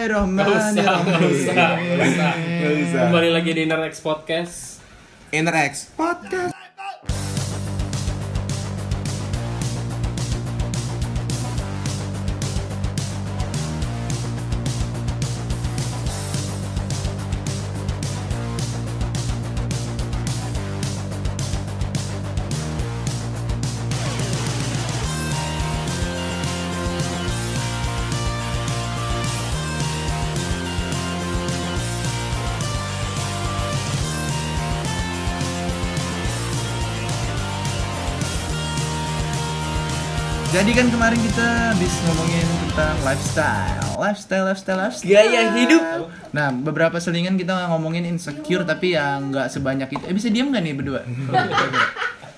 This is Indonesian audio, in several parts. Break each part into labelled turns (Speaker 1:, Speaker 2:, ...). Speaker 1: Bismillahirrahmanirrahim.
Speaker 2: Nggak usah, nggak usah.
Speaker 1: Nggak usah.
Speaker 2: Kembali lagi di Inner X Podcast.
Speaker 1: Interx Podcast. Jadi kan kemarin kita habis ngomongin tentang lifestyle, lifestyle, lifestyle, lifestyle.
Speaker 2: Gaya hidup.
Speaker 1: Nah, beberapa selingan kita ngomongin insecure tapi ya nggak sebanyak itu. Eh bisa diam nggak nih berdua?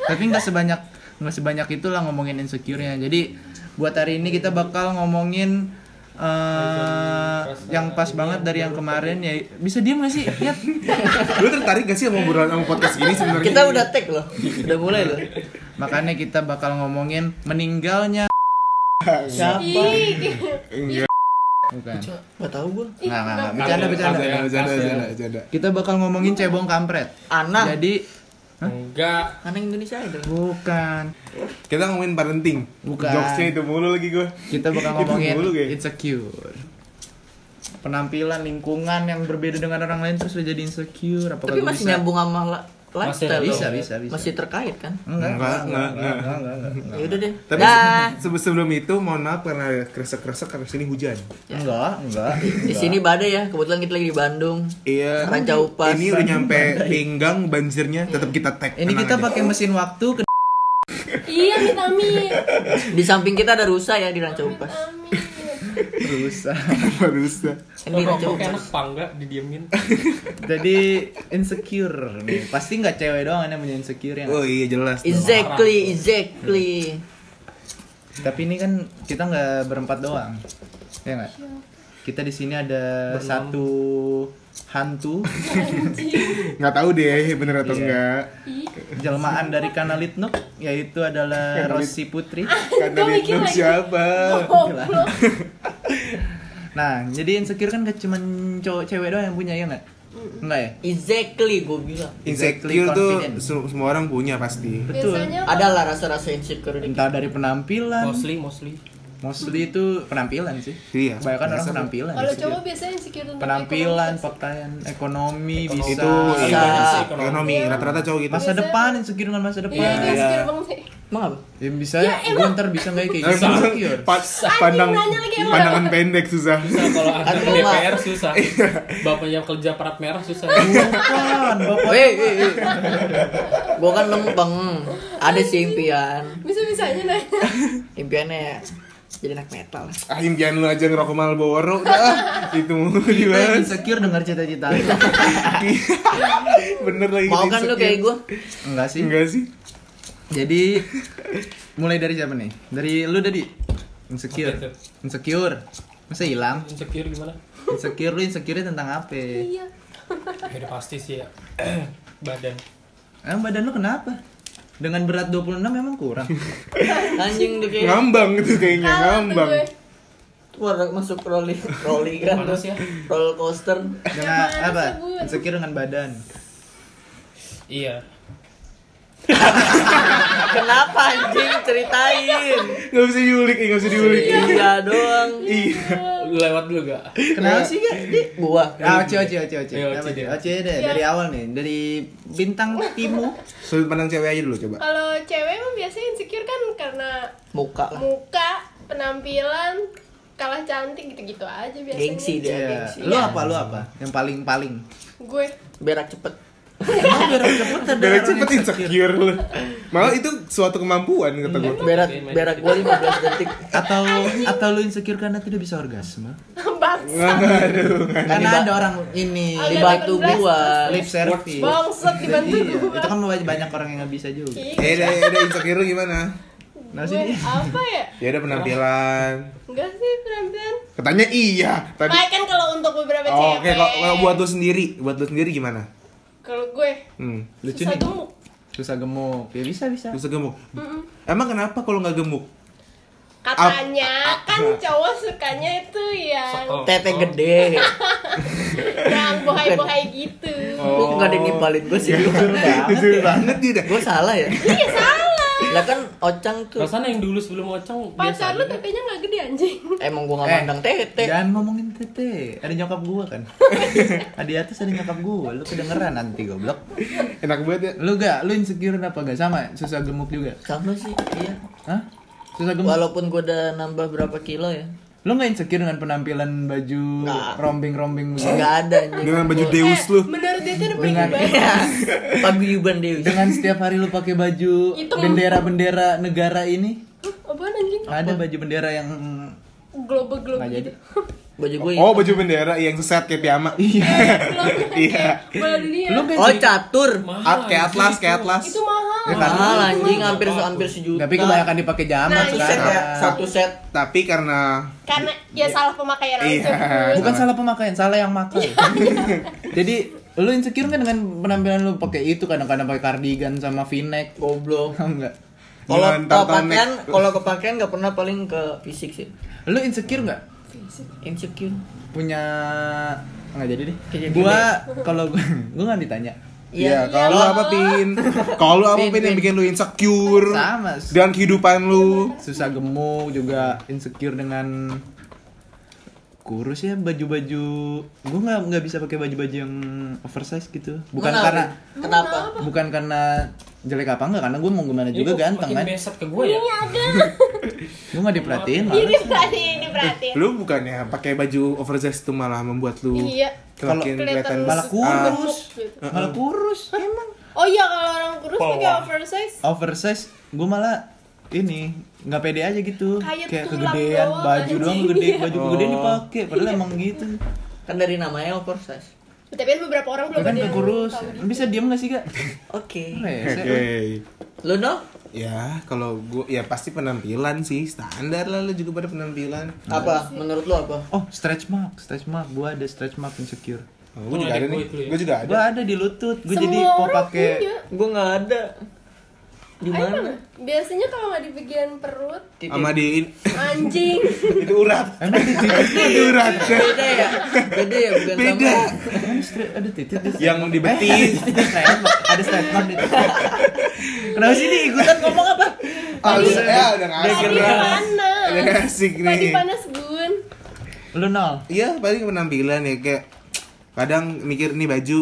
Speaker 1: tapi nggak sebanyak nggak sebanyak itulah ngomongin insecure-nya. Jadi buat hari ini kita bakal ngomongin eh, yang pas banget dari yang kemarin ya bisa diam nggak sih? Lihat.
Speaker 3: Lu tertarik gak sih sama obrolan sama podcast ini sebenarnya?
Speaker 4: Kita udah tag loh, udah mulai loh.
Speaker 1: Makanya kita bakal ngomongin meninggalnya
Speaker 4: Siapa?
Speaker 5: Ih,
Speaker 1: Iya. bukan.
Speaker 4: Gak tau gue.
Speaker 1: Nggak, nggak, nggak. Bercanda, bercanda.
Speaker 3: Bercanda, bercanda, bercanda, bercanda.
Speaker 1: Kita bakal ngomongin cebong kampret.
Speaker 4: Anang,
Speaker 1: Jadi
Speaker 2: Enggak.
Speaker 4: Anang Indonesia Idol.
Speaker 1: bukan.
Speaker 3: Kita ngomongin parenting.
Speaker 1: Bukan.
Speaker 3: Jokesnya itu mulu lagi gue.
Speaker 1: Kita bakal
Speaker 3: Itu
Speaker 1: ngomongin
Speaker 3: mulu, guys.
Speaker 1: insecure. Penampilan lingkungan yang berbeda dengan orang lain terus udah jadi insecure. Apakah
Speaker 4: Tapi
Speaker 1: gua
Speaker 4: masih
Speaker 1: bisa?
Speaker 4: nyambung sama la- lifestyle
Speaker 1: Bisa,
Speaker 4: dong.
Speaker 1: bisa, bisa.
Speaker 4: Masih terkait kan?
Speaker 1: Enggak, enggak, enggak,
Speaker 3: Enggak,
Speaker 1: enggak,
Speaker 3: enggak,
Speaker 1: enggak, enggak, enggak.
Speaker 4: Ya udah deh.
Speaker 3: Tapi
Speaker 4: Dah.
Speaker 3: sebelum, sebelum itu mohon maaf karena kresek-kresek karena sini hujan.
Speaker 1: Enggak, enggak.
Speaker 4: Ya. Di sini badai ya, kebetulan kita lagi di Bandung.
Speaker 3: Iya.
Speaker 4: Rancau pas.
Speaker 3: Ini udah nyampe pinggang banjirnya, tetap kita tag.
Speaker 1: Ini kita pakai mesin waktu ke
Speaker 5: Iya, amit amit.
Speaker 4: Di samping kita ada rusa ya di Rancau Upas.
Speaker 5: Amit.
Speaker 1: terus.
Speaker 3: Barista.
Speaker 4: Ini Eh, di
Speaker 2: Rokok
Speaker 4: Rancau Upas.
Speaker 2: enak apa enggak didiemin?
Speaker 1: jadi insecure nih. Pasti nggak cewek doang kan yang punya insecure yang.
Speaker 3: Oh iya jelas. dong.
Speaker 4: Exactly, exactly.
Speaker 1: Tapi ini kan kita nggak berempat doang. Ya nggak? Kita di sini ada satu hantu
Speaker 3: Nggak tahu deh bener atau
Speaker 1: Iya.
Speaker 3: enggak.
Speaker 5: Ih,
Speaker 1: jelmaan dari Kanalitnuk yaitu adalah
Speaker 3: Kanalit-
Speaker 1: Rosi Putri.
Speaker 3: Karena
Speaker 5: Kau
Speaker 3: itu
Speaker 5: mikir lagi.
Speaker 3: siapa?
Speaker 5: Oh, Goblok.
Speaker 1: Nah, jadi insecure kan gak cuman cowok cewek doang yang punya ya nggak? Enggak ya?
Speaker 4: Exactly gue bilang.
Speaker 1: Exactly
Speaker 3: Insecure tuh
Speaker 1: confident.
Speaker 3: se- semua orang punya pasti.
Speaker 1: Betul.
Speaker 5: Biasanya
Speaker 4: Adalah rasa-rasa insecure di
Speaker 1: Entah dari penampilan,
Speaker 2: Mostly, mostly.
Speaker 1: mostly itu penampilan sih.
Speaker 3: Iya.
Speaker 1: Kebanyakan orang
Speaker 3: Biasa.
Speaker 1: penampilan.
Speaker 5: kalau
Speaker 1: insecure.
Speaker 5: cowok biasanya insecure tentang
Speaker 1: penampilan,
Speaker 5: ekonomi.
Speaker 1: pakaian, ekonomi, bisa.
Speaker 3: Itu
Speaker 4: Bisa.
Speaker 3: iya, ekonomi rata-rata cowok gitu.
Speaker 1: Masa depan insecure dengan masa depan.
Speaker 5: Iya, itu insecure banget sih.
Speaker 4: Emang apa?
Speaker 1: Ya bisa,
Speaker 5: Ya,
Speaker 1: ya,
Speaker 5: emang.
Speaker 1: ntar bisa nggak ya kayak
Speaker 3: Eh,
Speaker 1: gitu insecure?
Speaker 3: pa- pandang
Speaker 5: nanya lagi emang.
Speaker 3: pandangan pendek susah.
Speaker 2: Susah kalau anak
Speaker 4: Kan gua
Speaker 2: DPR susah. Bapaknya kerja perat merah susah.
Speaker 1: Bukan, bapak.
Speaker 4: Weh, weh, weh. Gue eh, kan lempeng. Ada sih impian.
Speaker 5: Bisa-bisanya nanya.
Speaker 4: Impiannya ya jadi anak metal.
Speaker 3: Ah impian lu aja ngerokok Marlboro udah ah. itu mulu
Speaker 1: Kita yang
Speaker 3: dibahas.
Speaker 1: insecure dengar cita-cita.
Speaker 3: Bener lagi.
Speaker 4: Mau kan
Speaker 3: gitu insecure.
Speaker 4: lu kayak gue?
Speaker 1: Enggak sih.
Speaker 3: Enggak sih?
Speaker 1: Jadi mulai dari siapa nih? Dari lu tadi insecure.
Speaker 2: Apa itu?
Speaker 1: Insecure. Masa hilang?
Speaker 2: Insecure gimana?
Speaker 1: Insecure lu insecure tentang apa? Eh,
Speaker 5: Iya.
Speaker 2: Ya udah pasti sih ya. Badan.
Speaker 1: Emang badan lu kenapa? Dengan berat 26 emang kurang.
Speaker 4: Anjing tuh kayak
Speaker 3: Ngambang gitu kayaknya
Speaker 5: Kalah tuh
Speaker 3: ngambang.
Speaker 5: gue.
Speaker 4: Tuh ada masuk rolling rolling kan
Speaker 2: Panas ya?
Speaker 4: roller coaster.
Speaker 1: Dengan
Speaker 5: Jangan
Speaker 1: apa?
Speaker 5: disebut.
Speaker 1: Insecure dengan badan.
Speaker 2: Iya.
Speaker 4: Kenapa anjing ceritain?
Speaker 3: Enggak bisa diulik, enggak bisa diulik.
Speaker 4: Iya doang.
Speaker 3: Iya.
Speaker 2: Lu lewat dulu gak?
Speaker 1: Kenapa sih ya? Di?
Speaker 4: Gua
Speaker 1: Ah, oce oce oce oce.
Speaker 2: Iya, Oce
Speaker 1: Apa
Speaker 2: deh.
Speaker 1: deh? Oce deh dari awal nih, dari bintang timu.
Speaker 3: Sudut pandang cewek aja dulu coba.
Speaker 5: Kalau cewek emang biasanya insecure kan karena
Speaker 4: muka lah.
Speaker 5: muka, penampilan, kalah cantik gitu-gitu aja biasanya.
Speaker 4: Gengsi dia
Speaker 1: Iya.
Speaker 4: gengsi.
Speaker 1: Lu apa lu apa? Yang paling-paling.
Speaker 5: Gue
Speaker 4: Berak cepet.
Speaker 1: Emang berat cepetan
Speaker 3: Dari cepet insecure lu. Malah itu suatu kemampuan kata gue.
Speaker 4: Berak berak gua 15 detik.
Speaker 1: atau atau lu insecure karena tidak bisa orgasme?
Speaker 5: bangsa.
Speaker 1: Karena ada orang ini
Speaker 5: Ada
Speaker 4: Dibantu gua.
Speaker 1: lip service.
Speaker 5: Bangsat dibantu Iya.
Speaker 1: Iya,
Speaker 5: gue.
Speaker 1: itu kan banyak banyak orang yang nggak bisa juga.
Speaker 5: Ih,
Speaker 3: Eh, ada ada insecure lu gimana?
Speaker 1: Nah,
Speaker 5: gue
Speaker 1: sini.
Speaker 5: apa ya?
Speaker 3: Ya ada penampilan.
Speaker 5: Enggak sih penampilan.
Speaker 3: Katanya iya tadi. Oh,
Speaker 5: Baik kan kalau untuk beberapa cewek.
Speaker 3: Oke, kalau kalau buat lu sendiri, buat lu sendiri gimana?
Speaker 5: Kalau gue
Speaker 3: Hmm.
Speaker 1: Lucu
Speaker 5: susah
Speaker 1: nih.
Speaker 5: gemuk.
Speaker 1: Susah gemuk. Ya bisa bisa.
Speaker 3: Terus gemuk. Emang kenapa kalau nggak gemuk?
Speaker 5: Katanya kan cowok sukanya itu yang
Speaker 2: Oh.
Speaker 4: Tete gede.
Speaker 5: yang bohai-bohai gitu.
Speaker 4: Kok nggak ada yang nimpalin gue sih? Jujur
Speaker 3: banget dia dah.
Speaker 4: Gue salah ya?
Speaker 5: Iya salah.
Speaker 4: Lah kan ocang tuh.
Speaker 2: Rasanya yang dulu sebelum ocang Oh,
Speaker 5: Pacar
Speaker 2: biasa
Speaker 5: lu
Speaker 2: aja.
Speaker 5: tetenya nggak gede anjing.
Speaker 4: Emang gue nggak
Speaker 1: Eh,
Speaker 4: mandang tete.
Speaker 1: Jangan ngomongin tete, ada nyokap gua kan. ada di atas ada nyokap gua, lu kedengeran nanti goblok.
Speaker 3: Enak banget ya.
Speaker 1: Lu gak, lu insecure apa gak sama? Susah gemuk juga.
Speaker 4: Sama sih, iya.
Speaker 1: Hah? Susah gemuk.
Speaker 4: Walaupun gue udah nambah berapa kilo ya.
Speaker 1: Lu gak insecure dengan penampilan baju
Speaker 4: Nggak.
Speaker 1: rombeng-rombeng begini?
Speaker 4: Nggak ada anjing.
Speaker 3: Dengan baju
Speaker 4: Gua-
Speaker 3: Deus lu.
Speaker 5: Eh, Menurut dia tuh udah pengen
Speaker 1: Dengan-
Speaker 5: banget.
Speaker 4: Paguyuban Deus.
Speaker 1: Dengan setiap hari lu pakai baju
Speaker 5: Itu-
Speaker 1: bendera-bendera negara ini?
Speaker 5: Hah, Apaan anjing?
Speaker 1: Ada baju bendera yang
Speaker 5: Global-global
Speaker 1: Nggak jadi.
Speaker 5: gitu.
Speaker 4: Baju gue.
Speaker 3: Oh, baju bendera yang seset kayak piyama.
Speaker 1: Iya.
Speaker 3: Iya.
Speaker 5: Bola dunia.
Speaker 1: Lu gak
Speaker 4: Oh catur.
Speaker 2: Mahal
Speaker 3: At kayak
Speaker 2: anjing
Speaker 3: atlas,
Speaker 2: itu.
Speaker 3: kayak atlas.
Speaker 5: ya. Itu mahal.
Speaker 1: Ya, kan?
Speaker 4: Mahal anjing hampir hampir sejuta.
Speaker 1: Tapi kebanyakan dipakai jamat
Speaker 5: Nah, iya.
Speaker 4: set ya,
Speaker 1: sekarang.
Speaker 4: satu set.
Speaker 3: Tapi karena
Speaker 5: Karena ya salah pemakaian
Speaker 3: Iya.
Speaker 5: aja.
Speaker 1: Bukan salah pemakaian, salah yang makan.
Speaker 5: Iya.
Speaker 1: Jadi lu insecure kan dengan penampilan lu pakai itu kadang-kadang pakai kardigan sama v-neck
Speaker 4: Goblok.
Speaker 1: enggak?
Speaker 4: Kalau
Speaker 3: Jangan tonton
Speaker 4: kepakean,
Speaker 3: nek.
Speaker 4: kalau kepakean nggak pernah paling ke fisik sih.
Speaker 1: Lu insecure nggak?
Speaker 4: Insecure.
Speaker 1: Punya nggak jadi deh.
Speaker 4: Kayak gini.
Speaker 1: Gua kalau gua gua nggak ditanya.
Speaker 3: Iya, kalau lu
Speaker 4: Lo-
Speaker 3: apa pin? Kalau lu apa
Speaker 4: Pin,
Speaker 3: pin yang
Speaker 4: Pin.
Speaker 3: bikin lu insecure
Speaker 1: Sama.
Speaker 3: dan kehidupan lu.
Speaker 1: Susah gemuk juga insecure dengan kurus ya baju-baju gua nggak nggak bisa pakai baju-baju yang oversize gitu bukan
Speaker 4: Kenapa?
Speaker 1: karena
Speaker 4: kenapa?
Speaker 1: bukan karena jelek apa enggak karena gue mau gimana juga
Speaker 2: Itu
Speaker 1: ganteng kan
Speaker 2: makin besar ke gue ya.
Speaker 1: gue nggak diperhatiin malah
Speaker 5: Ini berarti, ini berarti.
Speaker 3: Lu bukannya pakai baju oversize itu malah membuat lu
Speaker 5: Iya.
Speaker 1: Kalau-
Speaker 3: makin kelihatan
Speaker 1: malah kurus
Speaker 5: Gitu.
Speaker 1: malah kurus emang
Speaker 5: Oh iya kalau orang kurus pakai oversize
Speaker 1: oversize gue malah ini nggak pede aja gitu
Speaker 5: Kayak
Speaker 1: kayak
Speaker 5: tulang
Speaker 1: kegedean
Speaker 5: doang,
Speaker 1: baju doang
Speaker 5: anjing.
Speaker 1: gede baju
Speaker 3: Iya.
Speaker 1: kegedean dipakai padahal emang gitu
Speaker 4: Kan dari namanya oversize.
Speaker 5: Tapi kan beberapa orang belum
Speaker 1: kan
Speaker 5: ada yang
Speaker 1: kurus
Speaker 5: tahu. gitu.
Speaker 1: bisa diem gak sih kak
Speaker 4: Oke.
Speaker 1: Rese,
Speaker 3: Oke.
Speaker 4: Lu
Speaker 3: Ah,
Speaker 4: no?
Speaker 3: Ya, kalau gua ya pasti penampilan sih standar lah lu juga pada penampilan.
Speaker 1: Nah.
Speaker 4: Apa? Menurut lu apa?
Speaker 1: Oh stretch mark, stretch mark, gue ada stretch mark insecure.
Speaker 3: Oh, gua juga
Speaker 2: ada
Speaker 3: ada
Speaker 2: gua
Speaker 3: nih.
Speaker 2: itu ya.
Speaker 3: Gua juga ada.
Speaker 1: Gue ada di lutut, gue
Speaker 5: Semua
Speaker 1: jadi mau
Speaker 5: orang
Speaker 1: pakai.
Speaker 5: punya.
Speaker 4: Gua nggak ada. Di
Speaker 5: Ayo,
Speaker 4: mana?
Speaker 5: Bang. Biasanya kalau nggak di bagian perut,
Speaker 4: Titik.
Speaker 3: Sama di
Speaker 5: anjing.
Speaker 3: itu urat.
Speaker 1: Emang titik,
Speaker 3: itu urat.
Speaker 4: Beda ya? Beda ya bukan
Speaker 3: Beda.
Speaker 4: sama.
Speaker 1: emang stre- ada titik di
Speaker 3: Yang di betis.
Speaker 1: stretch mark, ada stretch mark di Kenapa sih ini
Speaker 4: Kan
Speaker 1: ikutan ngomong apa?
Speaker 3: Ah, lu- ya udah ngasih.
Speaker 5: Tadi panas.
Speaker 3: Udah asik
Speaker 5: Tadi
Speaker 3: nih.
Speaker 5: panas bun.
Speaker 1: Lu nol.
Speaker 3: Iya paling penampilan ya kayak kadang mikir nih baju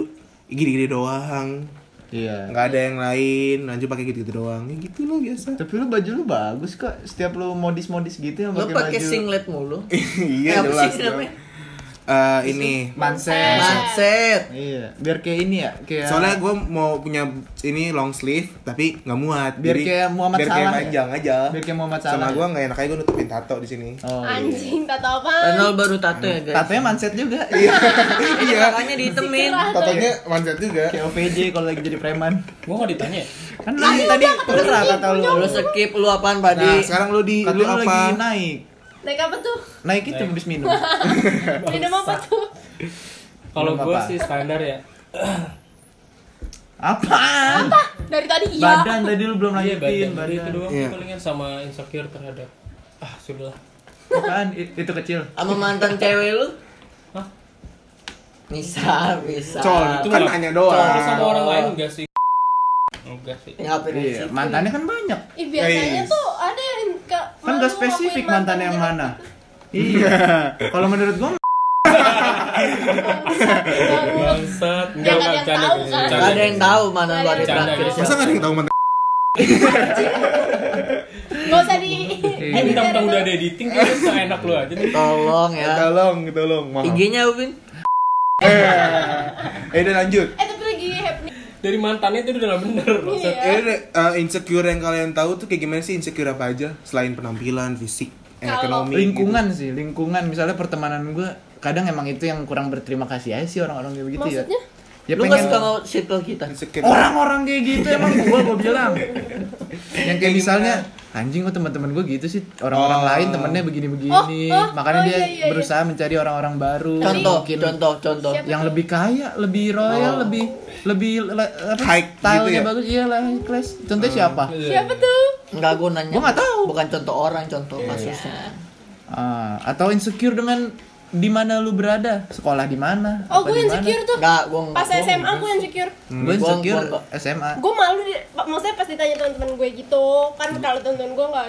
Speaker 3: gini-gini doang
Speaker 1: Iya.
Speaker 3: nggak ada yang lain lanjut pakai gitu-gitu doang ya gitu loh biasa
Speaker 1: Tapi lu baju lu bagus kok. Setiap lu modis-modis gitu yang
Speaker 4: Lu
Speaker 1: pakai baju.
Speaker 4: pakai singlet mulu. Eh,
Speaker 3: iya
Speaker 4: apa
Speaker 3: jelas
Speaker 4: sih
Speaker 3: dong.
Speaker 4: namanya?
Speaker 3: Eh, ini
Speaker 1: Manset.
Speaker 4: Manset.
Speaker 1: Iya. Biar kayak ini ya, kayak
Speaker 3: soalnya gue mau punya ini long sleeve tapi nggak muat
Speaker 1: Biar
Speaker 3: Jadi,
Speaker 1: kayak Muhammad
Speaker 3: biar kayak
Speaker 1: Salah ya?
Speaker 3: panjang aja
Speaker 1: biar kayak Muhammad
Speaker 3: sama
Speaker 1: Salah. ya?
Speaker 3: gue nggak enak aja gue nutupin tato di sini
Speaker 1: Oh.
Speaker 5: Anjing, tato apa?
Speaker 4: Renal baru tato ya guys.
Speaker 1: Tatonya manset juga. Iya.
Speaker 4: Ini makanya diitemin.
Speaker 3: tatonya manjat juga
Speaker 1: kayak OVJ kalau lagi jadi preman.
Speaker 2: Gue nggak ditanya. ya?
Speaker 1: Kan lu tadi bener kata lu.
Speaker 4: Lu skip lu apaan
Speaker 3: nah
Speaker 4: padi?
Speaker 3: sekarang lu di
Speaker 1: Kata
Speaker 3: lu
Speaker 1: lu lagi
Speaker 3: apa
Speaker 1: naik.
Speaker 5: Naik apa tuh?
Speaker 1: Naik itu habis minum.
Speaker 5: Minum apa tuh?
Speaker 2: Kalau
Speaker 1: Belum
Speaker 2: gue
Speaker 1: apa.
Speaker 2: sih standar ya.
Speaker 1: Apaan?
Speaker 5: Dari tadi iya.
Speaker 1: Badan tadi lu belum
Speaker 2: Iya
Speaker 1: lanjutin
Speaker 2: badan dari itu
Speaker 1: badan.
Speaker 2: doang
Speaker 3: Iya.
Speaker 2: palingan sama insecure terhadap ah sudahlah.
Speaker 1: Apaan? I- Itu kecil.
Speaker 4: Sama mantan cewek lu?
Speaker 2: Hah?
Speaker 4: Bisa, bisa.
Speaker 3: col
Speaker 2: itu
Speaker 3: kan
Speaker 2: nggak-
Speaker 3: nanya
Speaker 2: Terus sama
Speaker 3: doang
Speaker 2: orang lain enggak sih? Enggak sih.
Speaker 4: Ngapain di
Speaker 1: Iya,
Speaker 4: situ?
Speaker 1: mantannya kan banyak.
Speaker 5: Ih, biasanya
Speaker 3: Guys.
Speaker 5: tuh ada yang ke
Speaker 1: Kan
Speaker 5: malu
Speaker 1: gak
Speaker 5: ngakuin
Speaker 1: spesifik mantan yang
Speaker 5: dia.
Speaker 1: mana. Iya. Kalau menurut gua
Speaker 5: gitu.
Speaker 2: Bangsat. Enggak
Speaker 5: Jangan
Speaker 2: enggak
Speaker 5: yang
Speaker 2: canda.
Speaker 5: tahu,
Speaker 2: guys.
Speaker 5: kan?
Speaker 4: Gak ada yang tahu mana
Speaker 5: Gak
Speaker 4: lu
Speaker 1: Iya,
Speaker 4: ada
Speaker 5: ada yang
Speaker 2: tahu.
Speaker 4: terakhir
Speaker 3: masa nggak ada yang tahu mantan
Speaker 5: Gak usah di
Speaker 2: Eh,
Speaker 5: Iya,
Speaker 2: bintang udah ada editing terus seenak lu aja.
Speaker 4: Tolong
Speaker 1: Iya,
Speaker 4: ya
Speaker 3: tolong gitu tolong maaf
Speaker 4: IG-nya Upin
Speaker 3: eh udah lanjut
Speaker 5: Eh tapi lagi happening
Speaker 2: Dari mantannya itu udah nggak bener. Bangsat.
Speaker 5: Iya.
Speaker 3: Ini eh, insecure yang kalian tahu tuh kayak gimana sih insecure apa aja selain penampilan, fisik, eh,
Speaker 5: Kalau-
Speaker 3: ekonomi,
Speaker 1: lingkungan sih, lingkungan misalnya pertemanan gua kadang emang itu yang kurang berterima kasih aja sih orang-orang kayak begitu ya.
Speaker 5: Maksudnya?
Speaker 1: Ya
Speaker 4: Lu
Speaker 1: pengen
Speaker 4: gak suka sama circle kita?
Speaker 3: gitu. Insecure.
Speaker 1: orang-orang kayak gitu emang gua gua bilang. yang kayak misalnya anjing kok teman-teman gua gitu sih orang-orang
Speaker 3: Oh.
Speaker 1: lain temennya begini-begini
Speaker 5: Oh, oh,
Speaker 1: makanya
Speaker 5: oh,
Speaker 1: dia
Speaker 5: iya, iya, iya.
Speaker 1: berusaha mencari orang-orang baru
Speaker 4: Contoh,
Speaker 1: mungkin
Speaker 4: contoh, contoh
Speaker 1: yang lebih kaya, lebih royal, lebih lebih le- apa,
Speaker 3: High gitu
Speaker 1: stylenya
Speaker 3: ya?
Speaker 1: bagus, iya lah high class. Contohnya siapa?
Speaker 5: Siapa tuh?
Speaker 4: Enggak gue nanya.
Speaker 1: Gua nggak tahu. Iya.
Speaker 4: Bukan contoh orang, contoh kasusnya.
Speaker 1: Ah, atau insecure dengan di mana lu berada sekolah di mana
Speaker 5: Oh,
Speaker 1: apa
Speaker 5: gue
Speaker 1: di mana.
Speaker 5: insecure tuh.
Speaker 4: Enggak, gue
Speaker 5: Pas SMA gue insecure.
Speaker 1: gue
Speaker 4: Gua-
Speaker 1: insecure
Speaker 4: gua-
Speaker 1: SMA
Speaker 5: Gue malu di, maksudnya pas ditanya teman-teman gue gitu, kan
Speaker 3: Hmm.
Speaker 5: kalau teman-teman gue nggak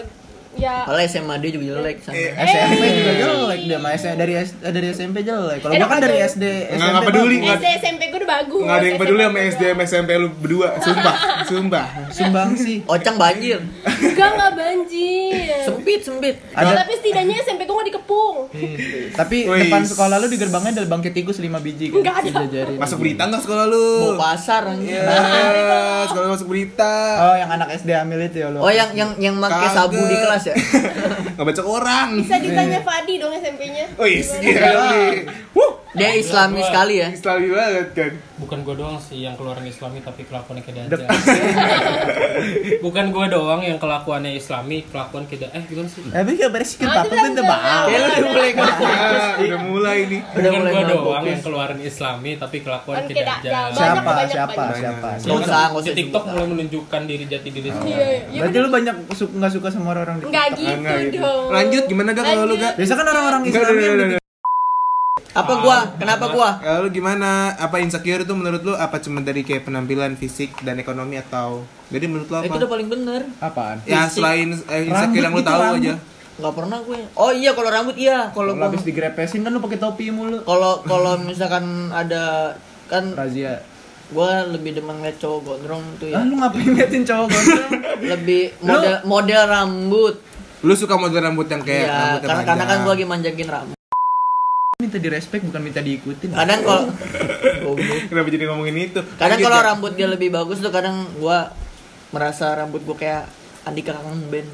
Speaker 5: ya
Speaker 4: Kalau SMA dia juga jelek
Speaker 1: Iya.
Speaker 4: sama.
Speaker 1: SMP
Speaker 5: eh.
Speaker 1: juga jelek deh, mas dari S- eh, dari SMP jelek. Kalau gua kan dari SD, SMP
Speaker 3: Nggak- nggak peduli,
Speaker 1: bagus.
Speaker 5: SD SMP gue udah bagus.
Speaker 3: Nggak ada yang peduli sama SD
Speaker 5: gue.
Speaker 3: sama SMP lu berdua, sumpah, sumpah.
Speaker 1: Sumbang sih.
Speaker 4: Ocang banjir.
Speaker 5: Enggak nggak banjir. Ya,
Speaker 4: Sempit, sempit.
Speaker 1: Ada-
Speaker 5: Tapi setidaknya SMP gue nggak dikepung.
Speaker 3: Hmm.
Speaker 1: Tapi
Speaker 3: Wih.
Speaker 1: depan sekolah lu di gerbangnya ada bangkai tikus 5 biji kan?
Speaker 5: Nggak ada.
Speaker 1: Sejajarin.
Speaker 3: Masuk berita nggak sekolah lu?
Speaker 4: Mau pasar anjing.
Speaker 3: Iya, sekolah masuk berita.
Speaker 1: Oh, yang anak SD hamil itu ya lu.
Speaker 4: Oh yang yang yang pakai
Speaker 3: Kagak.
Speaker 4: sabu di kelas ya?
Speaker 3: Nggak baca orang. Oh, iya
Speaker 5: Bisa ditanya Fadi dong SMP-nya.
Speaker 3: Wih, gila nih. Wuh,
Speaker 4: Dia islami sekali ya.
Speaker 3: iya. Islami banget kan.
Speaker 2: Bukan gue doang sih yang keluaran islami tapi kelakuannya kayak aja. Bukan gue doang yang kelakuannya islami, kelakuan kayak eh gimana sih?
Speaker 1: Tapi ya, gak bersih
Speaker 5: Oh,
Speaker 1: apa
Speaker 5: itu
Speaker 1: tuh
Speaker 5: kan
Speaker 1: tebal.
Speaker 4: Kayak lu Iya, udah mulai ngerti.
Speaker 3: Ah, udah mulai nih.
Speaker 4: Udah
Speaker 2: Bukan
Speaker 4: mulai
Speaker 2: gue
Speaker 4: mabok.
Speaker 2: doang yang keluaran islami tapi kelakuan
Speaker 5: Kan
Speaker 2: kayak
Speaker 5: kayak
Speaker 2: aja.
Speaker 5: dajal.
Speaker 1: Siapa
Speaker 5: Banyak, banyak,
Speaker 1: siapa
Speaker 5: banyak.
Speaker 1: siapa?
Speaker 4: Nggak usah, nggak usah
Speaker 2: Di TikTok
Speaker 4: sebut.
Speaker 2: mulai menunjukkan diri jati diri
Speaker 5: Iya,
Speaker 2: sendiri.
Speaker 5: iya.
Speaker 1: Berarti lu banyak su- nggak suka sama orang-orang di
Speaker 5: Enggak
Speaker 1: TikTok.
Speaker 5: gitu,
Speaker 3: Nggak gitu.
Speaker 5: dong.
Speaker 3: Lanjut, gimana, Gak, kalau lu, Gak?
Speaker 1: Biasa kan orang-orang
Speaker 3: Enggak,
Speaker 1: Islam
Speaker 3: udah,
Speaker 1: yang gitu.
Speaker 3: udah,
Speaker 1: di
Speaker 4: gitu.
Speaker 3: udah.
Speaker 4: Apa gua? Kenapa gua?
Speaker 3: Kalau lu gimana? Apa insecure itu menurut lu apa cuma dari kayak penampilan fisik dan ekonomi atau jadi menurut lu
Speaker 4: Itu udah
Speaker 3: apa?
Speaker 4: paling bener.
Speaker 1: apaan?
Speaker 3: Ya
Speaker 4: fisik.
Speaker 3: selain eh, insecure yang
Speaker 1: Rambut
Speaker 3: lu
Speaker 1: itu
Speaker 3: tahu
Speaker 1: rambut.
Speaker 3: aja.
Speaker 4: Gak pernah gue. Oh iya kalau rambut iya. Kalau
Speaker 1: Kalau
Speaker 4: gua-
Speaker 1: habis digrepesin kan lu pakai topi mulu.
Speaker 4: kalau kalau misalkan ada kan
Speaker 1: Razia.
Speaker 4: gua lebih demen ngeliat cowok gondrong tuh
Speaker 1: Ah
Speaker 4: ya.
Speaker 1: lu ngapain ngeliatin cowok gondrong?
Speaker 4: Lebih model model rambut.
Speaker 3: Lu suka model rambut yang kayak
Speaker 4: Ya,
Speaker 3: rambut yang
Speaker 4: karena karena kan
Speaker 3: Iya, panjang.
Speaker 4: gua lagi manjakin rambut.
Speaker 1: minta direspek bukan minta diikutin.
Speaker 4: Kadang kalau Goblok.
Speaker 3: Kenapa jadi ngomongin itu? gitu ya.
Speaker 4: kadang
Speaker 3: Lanjut,
Speaker 4: kalau
Speaker 3: Gak.
Speaker 4: rambut dia lebih bagus tuh kadang gua merasa rambut gua kayak Andika Kangen Band.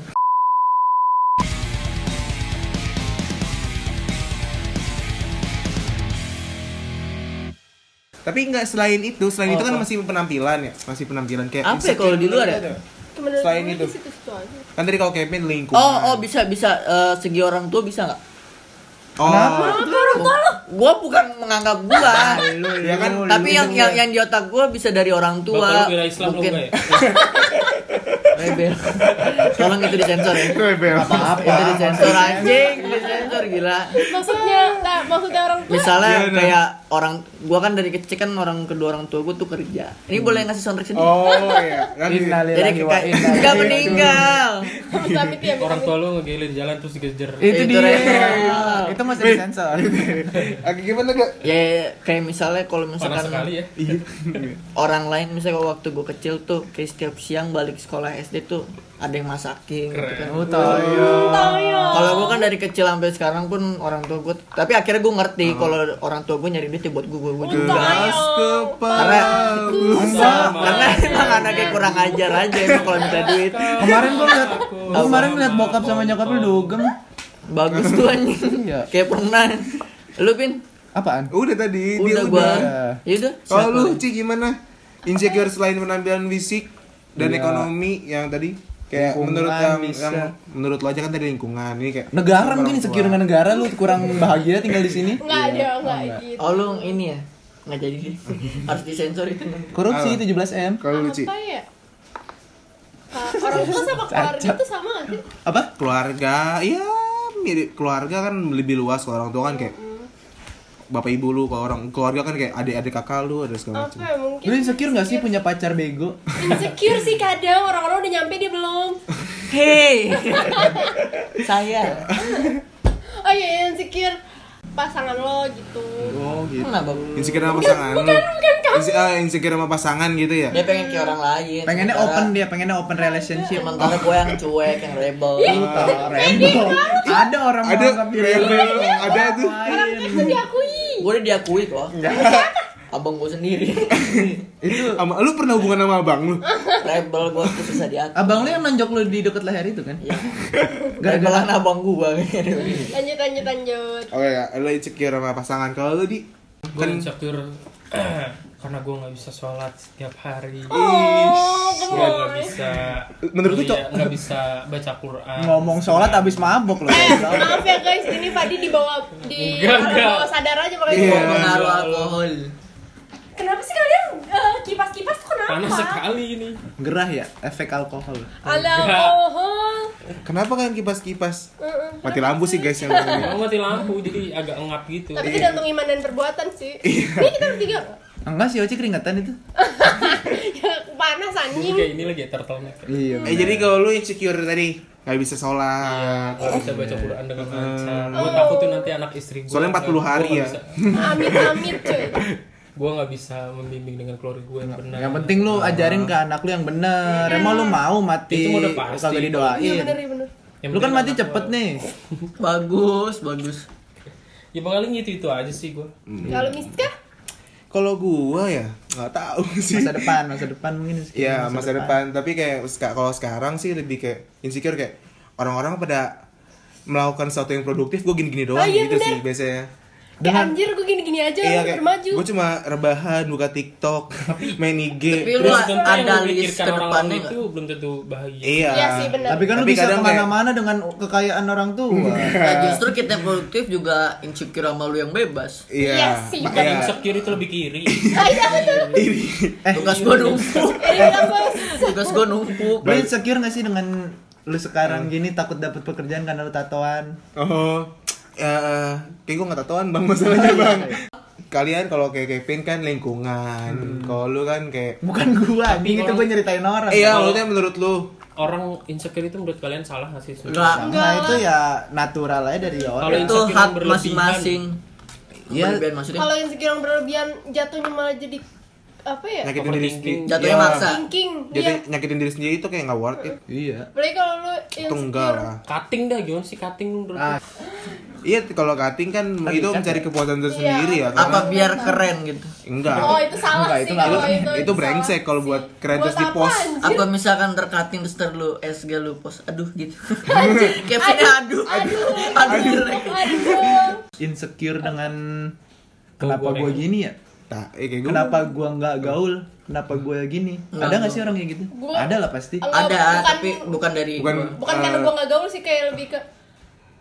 Speaker 3: Tapi enggak selain itu, selain
Speaker 4: Oh,
Speaker 3: itu kan
Speaker 4: apa?
Speaker 3: masih penampilan ya, masih penampilan kayak
Speaker 4: Apa ya kalau di luar
Speaker 3: gitu.
Speaker 4: ya?
Speaker 5: Menurut
Speaker 3: Selain
Speaker 5: gue
Speaker 3: itu.
Speaker 5: di situ-situ aja.
Speaker 3: Kan tadi kalau Kevin lingkungan.
Speaker 4: Oh, oh bisa bisa Eh, segi orang tua bisa nggak?
Speaker 3: Oh.
Speaker 4: Gua bukan menganggap gua.
Speaker 1: Lu,
Speaker 3: Ya kan,
Speaker 1: lu,
Speaker 4: Tapi
Speaker 1: lu.
Speaker 4: yang yang yang di otak gua bisa dari orang
Speaker 2: Bapak
Speaker 4: tua.
Speaker 2: lu bela Islam lu enggak ya?
Speaker 4: Rebel. Tolong itu disensor ya.
Speaker 3: Rebel.
Speaker 1: apa-apa.
Speaker 4: Itu disensor anjing, disensor gila.
Speaker 5: Maksudnya, nah, maksudnya orang tua.
Speaker 4: Misalnya
Speaker 3: Iya, nah.
Speaker 4: kayak orang gua kan dari kecil kan orang kedua orang tua gua tuh kerja. Ini boleh ngasih soundtrack sedikit?
Speaker 3: Hmm. Oh iya. Kan
Speaker 4: Jadi
Speaker 1: Innalillahi wa
Speaker 4: kayak
Speaker 1: inna
Speaker 3: Iya,
Speaker 4: nggak
Speaker 1: ilaihi
Speaker 4: meninggal.
Speaker 5: Amit-amit ya,
Speaker 2: Orang
Speaker 5: amit-amit.
Speaker 2: tua lu ngegelin jalan terus digejer.
Speaker 1: itu
Speaker 4: Itu
Speaker 1: dia
Speaker 4: real.
Speaker 1: itu masih disensor
Speaker 3: Oke, gimana gak?
Speaker 4: Ya kayak misalnya kalau
Speaker 2: Panas
Speaker 4: misalkan
Speaker 2: sekali ya.
Speaker 3: Iya.
Speaker 4: orang lain misalnya kalau waktu gue kecil tuh kayak setiap siang balik sekolah SD tuh ada yang masakin gitu kan.
Speaker 1: oh
Speaker 5: Iya.
Speaker 1: toyo
Speaker 5: Toyo.
Speaker 4: Kalau gue kan dari kecil sampai sekarang pun orang tua gue tapi akhirnya gue ngerti kalau orang tua gue nyari duit ya buat gue gue juga.
Speaker 5: ya.
Speaker 3: Gas kepala.
Speaker 4: Karena karena emang anaknya kurang ajar aja emang kalau minta duit.
Speaker 1: kemarin gua ngeliat gua kemarin ngeliat bokap sama nyokap lu dugem
Speaker 4: Bagus tuh anjing.
Speaker 1: Iya.
Speaker 4: Kayak pernah. Lu pin
Speaker 1: apaan
Speaker 3: Udah tadi, dia
Speaker 4: udah
Speaker 3: udah.
Speaker 4: gua. Ya udah.
Speaker 3: Kalau Oh, lu Ci gimana? Insecure selain penampilan fisik dan ekonomi yang tadi
Speaker 1: Iya.
Speaker 3: kayak
Speaker 1: Lingkungan
Speaker 3: menurut yang,
Speaker 1: bisa.
Speaker 3: yang menurut lo aja kan tadi lingkungan ini kayak
Speaker 1: negara
Speaker 3: orang
Speaker 1: mungkin
Speaker 3: tua.
Speaker 1: insecure dengan negara lu kurang bahagia tinggal di sini
Speaker 5: Enggak ada, enggak gitu.
Speaker 4: Oh lu ini ya. Nggak jadi sih. Harus disensor itu.
Speaker 1: korupsi 17 m
Speaker 3: kalau lu Ci
Speaker 5: Apa ya? Ah, orang tua sama keluarga itu sama gak sih?
Speaker 1: apa
Speaker 3: keluarga ya mirip keluarga kan lebih luas kalau orang tua kan kayak bapak ibu lu kalau orang keluarga kan kayak adik-adik kakak lu ada segala
Speaker 5: Apa
Speaker 3: macam
Speaker 5: ya mungkin?
Speaker 1: lu insecure nggak sih punya pacar bego
Speaker 5: Insecure sih kadang orang-orang udah nyampe dia belum.
Speaker 4: Hei. Saya.
Speaker 5: Oh iya insecure pasangan lo gitu.
Speaker 1: oh gitu
Speaker 4: Kenapa?
Speaker 3: insecure sama pasangan lu Inse- ah, insecure sama pasangan gitu ya
Speaker 4: Dia pengen kayak orang lain.
Speaker 1: pengennya
Speaker 4: sementara-
Speaker 1: open dia pengennya open relationship
Speaker 4: Sementara gue yang cuek, yang rebel.
Speaker 1: Entah, rebel ada orang
Speaker 3: ada
Speaker 1: menganggap diri
Speaker 3: rebel ada tuh
Speaker 5: Orang tua itu diakui.
Speaker 4: Gue udah diakui kok. Abang gue sendiri.
Speaker 1: itu
Speaker 3: Ama, lu pernah hubungan sama abang lu
Speaker 4: rebel gue tuh susah diatur.
Speaker 1: abang lu yang nonjok lu di deket leher itu kan
Speaker 4: Iya.
Speaker 1: gara-gara
Speaker 4: Rebelan abang gue.
Speaker 5: Lanjut lanjut lanjut.
Speaker 3: Oke, ya, lo insecure sama pasangan. Kalau lo di
Speaker 2: Gue insecure karena gue nggak bisa sholat setiap hari.
Speaker 5: Oh,
Speaker 2: Gue nggak
Speaker 5: gemoy.
Speaker 2: bisa.
Speaker 3: Menurut lu, Cok?
Speaker 2: kuliah, nggak bisa baca Quran.
Speaker 1: ngomong sholat abis mabok lu
Speaker 5: Eh, maaf ya guys, ini Fadi dibawa di
Speaker 2: Enggak,
Speaker 5: orang
Speaker 2: enggak.
Speaker 5: bawah sadar aja
Speaker 3: Iya.
Speaker 5: makanya.
Speaker 4: Pengaruh alkohol.
Speaker 6: kenapa sih kalian eh, kipas-kipas tuh kenapa?
Speaker 2: Panas sekali ini.
Speaker 1: gerah ya efek alkohol
Speaker 5: Ada alkohol.
Speaker 3: Kenapa kalian kipas-kipas?
Speaker 5: oh, Mm-mm.
Speaker 3: Mati lampu sih guys yang ngomongin.
Speaker 2: Emang mati lampu jadi agak ngap gitu.
Speaker 5: Tapi tergantung iman dan perbuatan sih. Ini kita bertiga loh.
Speaker 1: enggak sih Oci keringetan itu
Speaker 5: Ya, panas
Speaker 2: Ini
Speaker 5: anjing.
Speaker 2: kayak ini lagi ya, turtleneck. kayak.
Speaker 1: iya
Speaker 3: Eh jadi kalau lu insecure tadi nggak bisa sholat.
Speaker 2: Gak bisa baca Quran dengan lancar. Gue takut tuh nanti anak istri gue.
Speaker 3: Soalnya 40 hari ya.
Speaker 5: Amit-amit cuy.
Speaker 2: Gue nggak bisa membimbing dengan keluarga gue yang benar.
Speaker 1: yang penting lu ajarin ke anak lu yang bener emang lu mau mati
Speaker 2: Itu mah udah pasti.
Speaker 1: kagak didoain
Speaker 5: Iya bener, iya bener.
Speaker 2: Yang
Speaker 1: lu kan
Speaker 2: penting
Speaker 1: mati
Speaker 2: anak
Speaker 1: cepet
Speaker 2: gua-
Speaker 1: nih
Speaker 4: bagus bagus
Speaker 2: Ya paling gitu itu aja sih gue.
Speaker 5: Kalau Miska,
Speaker 3: Kalau gua ya nggak tahu sih.
Speaker 1: masa depan masa depan mungkin insecure
Speaker 3: Iya masa, depan. Tapi kayak seka- kalau sekarang sih lebih kayak insecure kayak orang-orang pada melakukan sesuatu yang produktif gue gini-gini doang
Speaker 5: Ah, iya,
Speaker 3: gitu
Speaker 5: bener.
Speaker 3: sih biasanya.
Speaker 5: kayak anjir gue gini-gini aja
Speaker 3: Iya
Speaker 5: orang
Speaker 3: kayak
Speaker 5: bermaju.
Speaker 3: gue cuma rebahan buka TikTok, main IG.
Speaker 4: Tapi lu
Speaker 2: Terus tentu yang
Speaker 4: ada
Speaker 2: lu pikirkan
Speaker 4: list ke
Speaker 2: orang-orang
Speaker 4: depannya nggak?
Speaker 2: itu belum tentu bahagia.
Speaker 3: Iya.
Speaker 5: Iya sih, bener.
Speaker 1: tapi kan lu
Speaker 3: Tapi
Speaker 1: bisa
Speaker 3: kadang Iya.
Speaker 1: kemana-mana dengan kekayaan orang tua
Speaker 4: Nah, justru kita produktif juga insecure sama lu yang bebas.
Speaker 3: Iya.
Speaker 5: Iya sih,
Speaker 3: Ma-
Speaker 2: Bukan
Speaker 3: iya.
Speaker 2: insecure itu lebih kiri.
Speaker 5: Ah iya betul.
Speaker 1: Eh.
Speaker 4: Tugas gua numpuk.
Speaker 5: Ini kita bos.
Speaker 4: Tugas gua numpuk.
Speaker 1: lu insecure gak sih dengan lu
Speaker 2: Iya.
Speaker 1: sekarang gini takut dapat pekerjaan karena lu tatoan
Speaker 3: Oh. Ya, eh, kayak gue nggak tatoan bang masalahnya bang. Kalian kalau kayak Kevin kan lingkungan, kalau lu kan kayak.
Speaker 1: bukan gua anjing itu gua nyeritain orang
Speaker 3: Eh, iya, maksudnya menurut lu
Speaker 2: Orang insecure itu menurut kalian salah nggak sih? sebenarnya?
Speaker 4: Enggak.
Speaker 1: nah itu ya natural aja dari orang
Speaker 2: Kalau
Speaker 4: Itu
Speaker 2: insecure yang
Speaker 4: hak
Speaker 2: berlebihan.
Speaker 4: masing-masing.
Speaker 1: Iya.
Speaker 4: Berlebihan maksudnya.
Speaker 5: Kalau yang segirang berlebihan jatuhnya malah jadi apa ya?
Speaker 3: nyakitin diri sendiri.
Speaker 4: Jatuhnya
Speaker 3: Iya.
Speaker 4: maksa.
Speaker 5: Thinking.
Speaker 3: Jadi
Speaker 5: Iya.
Speaker 3: nyakitin diri sendiri itu kayak nggak worth it.
Speaker 1: iya
Speaker 5: Berarti kalau lu
Speaker 3: Itu enggak
Speaker 5: Iya, insecure.
Speaker 3: lah.
Speaker 2: Cutting dah gimana sih cutting menurut lu?
Speaker 1: Ah,
Speaker 3: Iya, kalau cutting kan itu mencari kepuasan tersendiri ya. Karena,
Speaker 4: Apa biar keren gitu.
Speaker 3: Nah, enggak.
Speaker 5: Oh itu salah
Speaker 1: Enggak,
Speaker 5: sih
Speaker 1: itu
Speaker 5: kalau
Speaker 1: nggak-
Speaker 5: itu.
Speaker 3: itu brengsek kalau buat keren terus
Speaker 5: Buat
Speaker 3: di
Speaker 5: apa,
Speaker 3: post.
Speaker 5: anjing?
Speaker 4: Apa misalkan terkating terus ntar lu SG lu post aduh gitu. Kevinnya aduh.
Speaker 5: Aduh,
Speaker 4: Aduh.
Speaker 5: aduh.
Speaker 1: insecure dengan kenapa
Speaker 2: goreng.
Speaker 1: gua gini ya
Speaker 3: Nah, eh, kayak gue.
Speaker 1: kenapa gua nggak gaul kenapa gua gini ada nggak sih orang kayak gitu
Speaker 5: Gua-
Speaker 1: ada lah pasti
Speaker 5: Enggak,
Speaker 4: Ada
Speaker 5: bukan-
Speaker 4: tapi bukan dari
Speaker 3: Bukan
Speaker 4: gua.
Speaker 5: bukan karena gue nggak gaul sih kayak lebih ke
Speaker 2: Eh.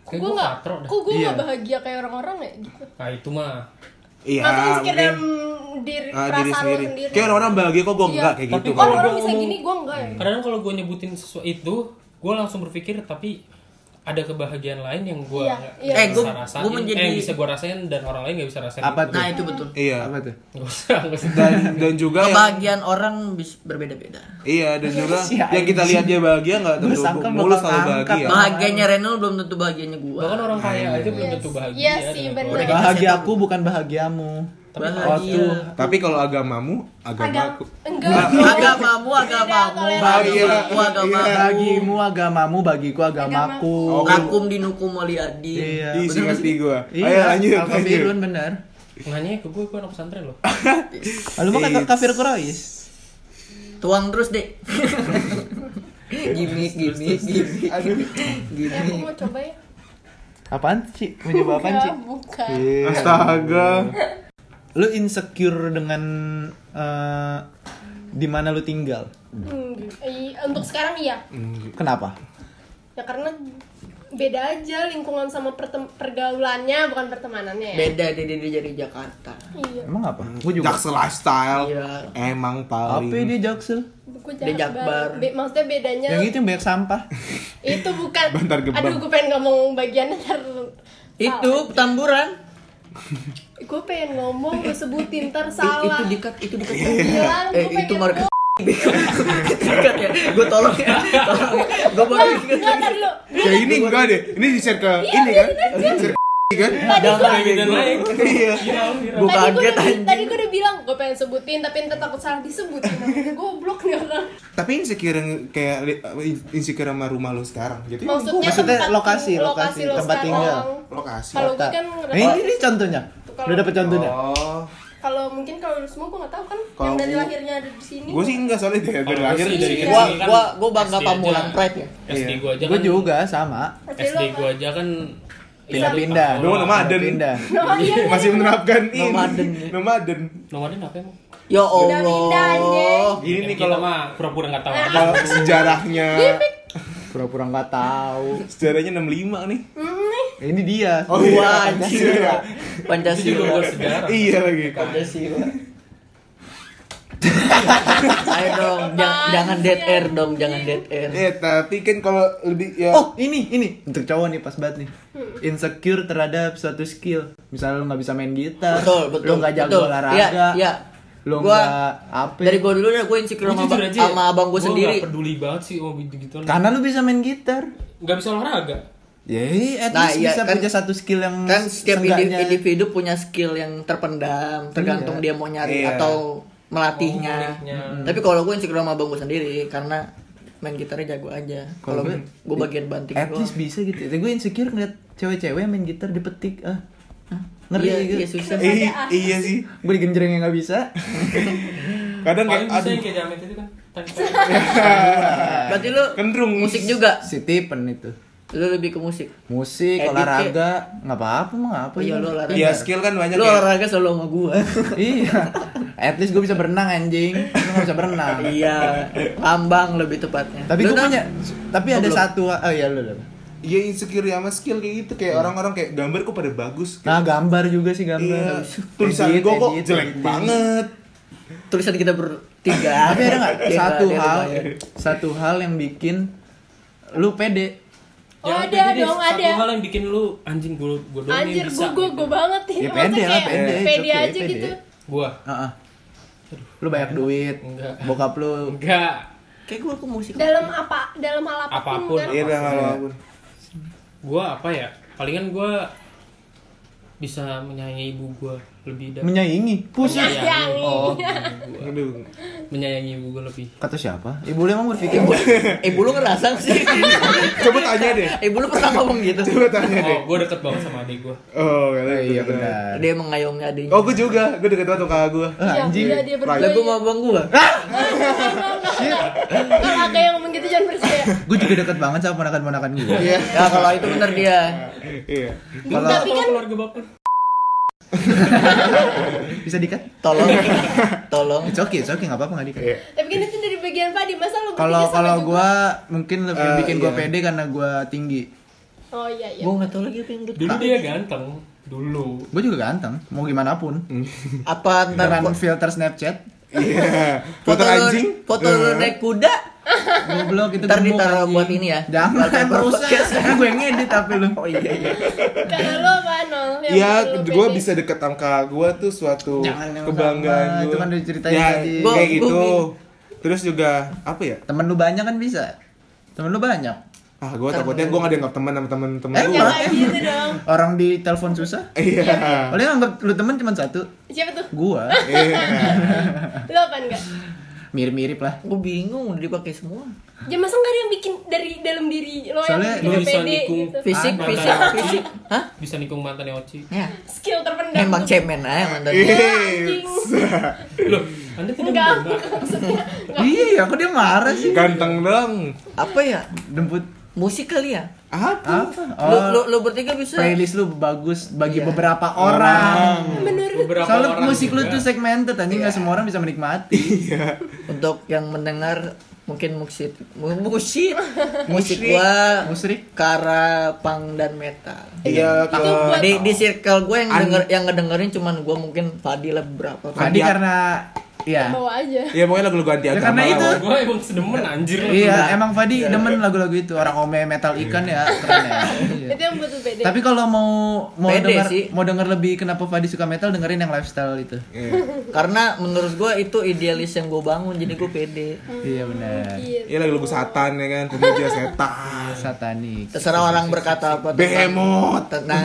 Speaker 2: Kayak
Speaker 5: gue
Speaker 2: gua
Speaker 5: nggak
Speaker 2: katro dah.
Speaker 5: kok gue nggak
Speaker 1: Iya.
Speaker 5: bahagia kayak orang-orang ya gitu
Speaker 2: Nah itu mah.
Speaker 3: Iya,
Speaker 5: maksudnya
Speaker 3: mungkin
Speaker 5: sekedar diri
Speaker 3: ah,
Speaker 5: perasaan
Speaker 3: diri
Speaker 5: lo
Speaker 3: sendiri.
Speaker 5: sendiri,
Speaker 3: Kayak orang-orang bahagia kok gue
Speaker 5: Iya.
Speaker 3: enggak kayak gitu.
Speaker 2: Tapi
Speaker 3: kalau
Speaker 5: orang orang bisa
Speaker 2: ngomong-
Speaker 5: gini gue enggak ya
Speaker 2: Kadang kalau gue nyebutin sesuatu itu, gue langsung berpikir tapi ada kebahagiaan lain yang gue
Speaker 5: Iya,
Speaker 2: nggak
Speaker 5: iya.
Speaker 4: Eh,
Speaker 2: bisa
Speaker 4: gua-
Speaker 2: rasain,
Speaker 4: gua menjadi-
Speaker 2: eh, yang bisa gue rasain dan orang lain nggak bisa rasain.
Speaker 1: Apa
Speaker 2: gitu.
Speaker 4: Nah, itu betul.
Speaker 3: Iya.
Speaker 1: apa tuh
Speaker 2: Nggak usah, nggak usah.
Speaker 3: Dan dan juga yang,
Speaker 4: Kebahagiaan orang bis- berbeda-beda.
Speaker 3: iya dan juga
Speaker 1: Si
Speaker 3: yang kita
Speaker 1: anjing.
Speaker 3: lihat dia bahagia enggak
Speaker 1: Gua
Speaker 3: tentu
Speaker 1: sangka
Speaker 3: mulus
Speaker 1: bakal
Speaker 3: selalu
Speaker 1: angkat,
Speaker 3: bahagia.
Speaker 1: Bang.
Speaker 4: Bahagianya Renal belum tentu bahagianya
Speaker 2: Bahkan
Speaker 4: gua.
Speaker 2: kan orang kaya aja belum tentu bahagia.
Speaker 5: Iya sih,
Speaker 2: dengan
Speaker 5: bener.
Speaker 2: keluarga.
Speaker 1: bahagia aku bukan bahagiamu
Speaker 4: gitu? Bahagia.
Speaker 3: Tapi kalau agamamu,
Speaker 5: agak
Speaker 3: agamaku.
Speaker 5: enggak
Speaker 4: Agamamu, agamamu,
Speaker 5: Beda,
Speaker 4: bagimu,
Speaker 3: Iya.
Speaker 4: agamamu.
Speaker 1: bagimu agamamu bagiku agamaku
Speaker 3: Agamaku.
Speaker 4: Lakum dinukum waliadin.
Speaker 1: Iya.
Speaker 3: Ih, sih ngerti gue. Ayo
Speaker 1: iya
Speaker 3: lanjut, lanjut.
Speaker 1: Alkafirun bener
Speaker 2: Nanya ke gue, gue anak pesantren loh.
Speaker 1: lalu mah kata kafir Quraisy
Speaker 4: Tuang terus, Dek. gimik, gimik, gimik.
Speaker 5: ya aku mau coba ya
Speaker 1: apaan sih menyebabkan apaan sih
Speaker 5: enggak bukan
Speaker 3: Iya. Astaga.
Speaker 1: lu insecure dengan eh, di mana lu tinggal
Speaker 5: Hmm, i- untuk sekarang iya
Speaker 1: kenapa
Speaker 5: ya karena beda aja lingkungan sama pertem- pergaulannya bukan pertemanannya ya
Speaker 4: Beda deh dia dari Jakarta.
Speaker 5: iya
Speaker 1: emang apa gua juga
Speaker 3: Hmm, Jaksel lifestyle.
Speaker 4: Iya.
Speaker 3: Emang
Speaker 1: apa
Speaker 3: paling.
Speaker 1: dia jaksel
Speaker 5: buku
Speaker 4: Dia Jakbar.
Speaker 5: Be- maksudnya bedanya
Speaker 1: yang itu yang banyak sampah
Speaker 5: itu bukan
Speaker 3: Bantar gebang.
Speaker 5: aduh gue pengen ngomong bagian ntar
Speaker 4: Itu petamburan.
Speaker 5: gue pengen ngomong gue sebutin ntar
Speaker 4: I-
Speaker 5: salah
Speaker 4: itu dikat, itu dikat.
Speaker 5: Bilang,
Speaker 4: eh,
Speaker 5: gua
Speaker 4: itu
Speaker 5: pengen
Speaker 4: market. Dikat ya. Gua tolong ya. Tolong. Gua baru ingat.
Speaker 5: Enggak, ntar dulu.
Speaker 3: Ya ini
Speaker 5: Iya,
Speaker 3: enggak deh. Ini di share ke ini kan. Di share ke kan.
Speaker 2: Ada dan lain.
Speaker 1: gitu.
Speaker 3: Iya.
Speaker 4: Gua
Speaker 5: Tadi gue
Speaker 4: kaget
Speaker 5: udah,
Speaker 4: anjing.
Speaker 5: tadi gue udah bilang gue pengen sebutin tapi ntar takut salah disebutin. Goblok nih orang.
Speaker 3: Tapi insecure yang kayak li- eh, insecure sama rumah lo sekarang. Jadi
Speaker 5: Maksudnya,
Speaker 1: Maksudnya
Speaker 5: tempat-
Speaker 1: lokasi,
Speaker 5: lo
Speaker 1: lokasi, tempat
Speaker 5: sekarang.
Speaker 1: tinggal.
Speaker 3: lokasi.
Speaker 5: Kalau gue
Speaker 1: Tak.
Speaker 5: kan
Speaker 1: Nah, ini, ini contohnya udah dapet contohnya
Speaker 3: Oh.
Speaker 5: kalau mungkin kalau lu semua gue nggak tahu kan
Speaker 3: Kalau
Speaker 5: yang dari
Speaker 3: gua-
Speaker 5: lahirnya ada di sini.
Speaker 3: Gue sih enggak soalnya dari, dari
Speaker 2: Kalau gua
Speaker 3: lahir
Speaker 5: Iya,
Speaker 2: sih
Speaker 3: dari
Speaker 2: dari
Speaker 3: kecil.
Speaker 4: Gua
Speaker 2: Kan
Speaker 4: gua gua bangga
Speaker 2: SD aja.
Speaker 4: pamulan pride ya.
Speaker 2: SD gue aja
Speaker 1: Iya. gua
Speaker 2: kan.
Speaker 1: juga sama
Speaker 5: Pasti lu
Speaker 2: SD
Speaker 5: apa?
Speaker 2: gue aja kan.
Speaker 5: Iya,
Speaker 1: pindah-pindah
Speaker 2: Dulu
Speaker 3: Dulu nama Aden.
Speaker 1: pindah
Speaker 5: Nah, iya, iya.
Speaker 3: Masih menerapkan ini.
Speaker 4: Nomaden.
Speaker 3: Nomaden.
Speaker 2: Nomornya apa emang?
Speaker 4: Ya
Speaker 5: Udah pindah anjing.
Speaker 4: Allah.
Speaker 3: Ini
Speaker 2: Kan
Speaker 3: nih
Speaker 2: kita
Speaker 3: kalau
Speaker 2: mah pura-pura nggak tahu aja.
Speaker 3: kalau sejarahnya
Speaker 1: pura-pura nggak tahu
Speaker 3: sejarahnya 65 nih.
Speaker 5: Hmm, nih.
Speaker 1: ini dia
Speaker 3: Oh
Speaker 4: Wah,
Speaker 3: iya.
Speaker 4: anjir.
Speaker 2: Itu
Speaker 3: Pancasila.
Speaker 2: juga
Speaker 4: Pancasila.
Speaker 2: buat sejarah.
Speaker 3: Iya lagi.
Speaker 4: Pancasila. Ayo dong, jangan, jangan dead air dong, jangan dead air.
Speaker 2: Iya.
Speaker 3: Eh, tapi kan kalau lebih ya
Speaker 1: Oh ini ini untuk cowok nih pas banget nih
Speaker 5: Hmm.
Speaker 1: insecure terhadap suatu skill misalnya lo nggak bisa main gitar,
Speaker 4: Betul, betul.
Speaker 1: lo nggak jago
Speaker 4: betul.
Speaker 1: olahraga,
Speaker 4: Iya, iya.
Speaker 1: lo
Speaker 4: Gua-
Speaker 1: nggak apa?
Speaker 4: Dari gua dulu ya gua insecure sama,
Speaker 2: jujur
Speaker 4: abang-
Speaker 2: aja ya,
Speaker 4: sama abang gua
Speaker 2: gua
Speaker 4: sendiri.
Speaker 2: nggak peduli banget sih oh gitu gituan
Speaker 1: Karena lo bisa main gitar,
Speaker 2: nggak bisa olahraga
Speaker 1: ya at
Speaker 4: Nah,
Speaker 1: least
Speaker 4: iya,
Speaker 1: bisa
Speaker 4: kan-
Speaker 1: punya satu skill yang
Speaker 4: Kan setiap indi-
Speaker 1: seenggaknya-
Speaker 4: individu punya skill yang terpendam, tergantung dia mau nyari
Speaker 3: Iya.
Speaker 4: atau
Speaker 2: Oh,
Speaker 4: melatihnya.
Speaker 2: nguliknya.
Speaker 4: Mm. Tapi kalau gua insecure sama abang gua sendiri karena main gitarnya jago aja.
Speaker 1: Kalau
Speaker 4: Kalau gua,
Speaker 1: gua-
Speaker 4: gua bagian banting
Speaker 1: at
Speaker 4: doang.
Speaker 1: least bisa gitu. Tapi gue insecure ngeliat cewek-cewek main gitar dipetik ah ngeri
Speaker 4: Iya,
Speaker 1: gitu.
Speaker 4: iya susah.
Speaker 3: eh, iya sih.
Speaker 1: gue digenjreng yang nggak bisa.
Speaker 3: Kadang
Speaker 2: paling
Speaker 3: Kan kayak
Speaker 2: bisa
Speaker 3: aduh
Speaker 2: yang kayak jamet itu kan Tadi-
Speaker 4: Berarti lu
Speaker 3: Kendrung.
Speaker 4: musik juga.
Speaker 1: si Tipen itu
Speaker 4: Lu lebih ke musik.
Speaker 1: musik
Speaker 4: Edit,
Speaker 1: olahraga nggak apa-apa mah nggak apa
Speaker 4: Oh iya lu olahraga.
Speaker 3: ya skill kan banyak
Speaker 4: Lu
Speaker 3: ya.
Speaker 4: olahraga selalu sama gua.
Speaker 1: iya at least gue bisa berenang anjing gue nggak bisa berenang
Speaker 4: iya, lambang lebih tepatnya.
Speaker 1: tapi
Speaker 4: Lu
Speaker 1: gue
Speaker 4: Dam?
Speaker 1: punya tapi ada
Speaker 4: belum.
Speaker 1: satu oh iya lu lu.
Speaker 3: Iya insecure sama skill kayak gitu
Speaker 2: Iya.
Speaker 3: kayak orang-orang kayak gambar kok pada bagus.
Speaker 1: nah gambar juga sih gambar
Speaker 3: Iya, tulisan
Speaker 1: Edit,
Speaker 3: gue kok
Speaker 1: edit,
Speaker 3: jelek
Speaker 1: editing.
Speaker 3: banget.
Speaker 4: tulisan kita bertiga.
Speaker 1: tapi ada nggak
Speaker 4: Dia
Speaker 1: satu
Speaker 4: Iya, dia
Speaker 1: hal
Speaker 4: bayar.
Speaker 1: satu hal yang bikin lu pede
Speaker 5: Oh,
Speaker 2: Jangan
Speaker 5: ada
Speaker 2: peduli deh,
Speaker 5: dong,
Speaker 2: satu
Speaker 5: ada.
Speaker 2: hal yang bikin lu anjing gue gue doang
Speaker 5: Anjir,
Speaker 2: yang bisa
Speaker 5: gue gue gue banget ini.
Speaker 1: Ya, pede
Speaker 5: Iya,
Speaker 1: lah,
Speaker 5: Maksudnya kayak
Speaker 1: pede.
Speaker 5: Pede
Speaker 1: It's okay,
Speaker 5: aja
Speaker 1: pede.
Speaker 5: gitu.
Speaker 2: Gua.
Speaker 1: Heeh. lu banyak duit
Speaker 2: Enggak.
Speaker 1: bokap lu
Speaker 2: enggak
Speaker 4: Kayak gue aku musik.
Speaker 5: Dalam apa? Dalam hal apapun,
Speaker 2: Apapun.
Speaker 5: kan?
Speaker 3: Iya udah kalau apapun.
Speaker 2: gue apa ya palingan gue bisa menyayangi ibu gue lebih dari
Speaker 1: menyaingi pusat
Speaker 2: iya,
Speaker 5: Menyayangi.
Speaker 2: oh
Speaker 3: Aduh.
Speaker 2: menyayangi ibu gue lebih
Speaker 1: kata siapa ibu lu emang berpikir
Speaker 4: Ibu lu ngerasa nggak sih.
Speaker 3: Coba tanya deh.
Speaker 4: Ibu lu pernah ngomong gitu.
Speaker 3: Coba tanya deh.
Speaker 2: oh gue deket banget sama adik gue
Speaker 3: Oh, kata-
Speaker 1: iya
Speaker 3: kata-
Speaker 1: benar
Speaker 4: Dia mengayomi adiknya.
Speaker 3: Oh, gue juga. Gue deket banget sama kakak gue.
Speaker 1: Ah,
Speaker 5: Iya,
Speaker 1: anjing
Speaker 5: iya, dia berdua.
Speaker 4: Lah
Speaker 5: ya.
Speaker 4: gue mau abang gue.
Speaker 5: Kalau ada yang ngomong gitu jangan percaya.
Speaker 1: gue juga deket banget sama ponakan-ponakan gue
Speaker 4: Iya. Ya kalau itu bener dia.
Speaker 3: Iya.
Speaker 1: kalau
Speaker 2: Tapi kan keluarga bapak
Speaker 1: bisa dikat
Speaker 4: Tolong. Tolong.
Speaker 1: it's okay it's okay nggak apa-apa nggak dikat
Speaker 3: Iya.
Speaker 5: Tapi kan itu dari bagian Fadi, masa lu bertiga
Speaker 1: kalau
Speaker 5: sama
Speaker 1: kalau
Speaker 5: juga?
Speaker 1: gue mungkin lebih
Speaker 3: Eh,
Speaker 1: bikin gue
Speaker 3: iya.
Speaker 1: pede karena gue tinggi
Speaker 5: Oh iya iya.
Speaker 4: Gue nggak tahu lagi apa yang gue.
Speaker 2: dulu dia ganteng dulu
Speaker 1: gue juga ganteng mau gimana pun
Speaker 4: Apa ntar
Speaker 1: dengan
Speaker 4: fo-
Speaker 1: filter Snapchat
Speaker 3: Iya. Foto
Speaker 4: foto lu
Speaker 3: anjing.
Speaker 4: foto lu naik kuda
Speaker 1: goblok itu
Speaker 4: ntar
Speaker 1: gemuk,
Speaker 4: ditaruh
Speaker 1: anjing.
Speaker 4: buat ini ya
Speaker 1: jangan ya.
Speaker 4: Wallpaper
Speaker 1: merusak
Speaker 4: podcast.
Speaker 1: karena gue yang ngedit tapi lu oh iya iya
Speaker 5: Kalau lu apa nol? Yang
Speaker 3: Iya,
Speaker 5: lu
Speaker 3: gue
Speaker 5: pede?
Speaker 3: bisa deket sama kakak gue tuh suatu
Speaker 1: Jangan yang
Speaker 3: kebanggaan
Speaker 1: sama,
Speaker 3: gue.
Speaker 1: itu kan udah diceritain
Speaker 3: ya,
Speaker 1: tadi.
Speaker 3: Kayak
Speaker 4: Bo-
Speaker 3: gitu.
Speaker 4: Bo-
Speaker 3: Terus juga apa ya?
Speaker 1: temen lu banyak kan bisa temen lu banyak
Speaker 3: Ah, gue takutnya gue gak dianggap teman sama temen-temen
Speaker 1: Eh,
Speaker 3: gue.
Speaker 5: Jangan gitu dong.
Speaker 1: orang di telepon susah
Speaker 3: Iya.
Speaker 1: Paling anggap lu temen cuma satu
Speaker 5: Siapa tuh?
Speaker 1: Gua
Speaker 3: Iya.
Speaker 5: Lu apa enggak?
Speaker 1: Mirip-mirip lah
Speaker 4: gue bingung udah dipakai semua
Speaker 5: Ya masa enggak ada yang bikin dari dalam diri lo yang
Speaker 1: Soalnya
Speaker 2: lu
Speaker 5: bikin lo
Speaker 2: bisa
Speaker 5: pede
Speaker 2: nikung.
Speaker 5: gitu.
Speaker 4: fisik
Speaker 2: Ah,
Speaker 4: fisik
Speaker 2: mantan.
Speaker 4: fisik hah
Speaker 2: bisa nikung mantannya Oci
Speaker 4: ya
Speaker 5: Skill terpendam.
Speaker 4: emang cemen aja mantan
Speaker 5: Iya.
Speaker 2: loh anda tidak
Speaker 5: Enggak,
Speaker 2: menembak
Speaker 1: Iya kok dia marah sih
Speaker 3: Ganteng dong.
Speaker 4: apa ya
Speaker 1: Demput
Speaker 4: musik kali ya
Speaker 3: Apa?
Speaker 1: Apa? Oh,
Speaker 4: lu lu, lu bertiga bisa
Speaker 1: playlist lu bagus bagi
Speaker 4: Iya.
Speaker 1: beberapa orang.
Speaker 5: Menurut
Speaker 2: beberapa
Speaker 1: Soalnya
Speaker 2: orang
Speaker 1: musik lu
Speaker 2: juga.
Speaker 1: tuh segmented anjing nggak semua orang bisa menikmati.
Speaker 4: untuk yang mendengar mungkin musik mu- musik musik gua
Speaker 1: Musrik.
Speaker 4: kara pang dan metal
Speaker 3: Iya,
Speaker 5: itu
Speaker 3: kalau
Speaker 5: buat
Speaker 4: di di circle gue yang denger yang ngedengerin cuman gue mungkin Fadi lah beberapa kan.
Speaker 1: Tadi karena ya.
Speaker 5: bawa aja.
Speaker 3: ya pokoknya lagu-lagu anti agama.
Speaker 1: karena itu.
Speaker 3: lah.
Speaker 2: gue emang sedemen anjir lah.
Speaker 1: Iya, emang Fadi demen lagu-lagu itu. Orang Ome metal ikan ya, keren ya. Iya.
Speaker 5: Itu yang buat lu pede.
Speaker 1: Tapi kalau mau mau
Speaker 4: Pede
Speaker 1: denger
Speaker 4: sih.
Speaker 1: mau denger lebih kenapa Fadi suka metal dengerin yang lifestyle itu.
Speaker 3: Iya.
Speaker 4: karena menurut gue itu idealis yang gue bangun jadi gue pede
Speaker 1: Iya benar.
Speaker 5: Gitu.
Speaker 3: Iya lagu-lagu satan ya kan, pemuja setan.
Speaker 1: Satanik.
Speaker 4: terserah orang berkata apa tentang
Speaker 3: Behemoth.
Speaker 4: tentang,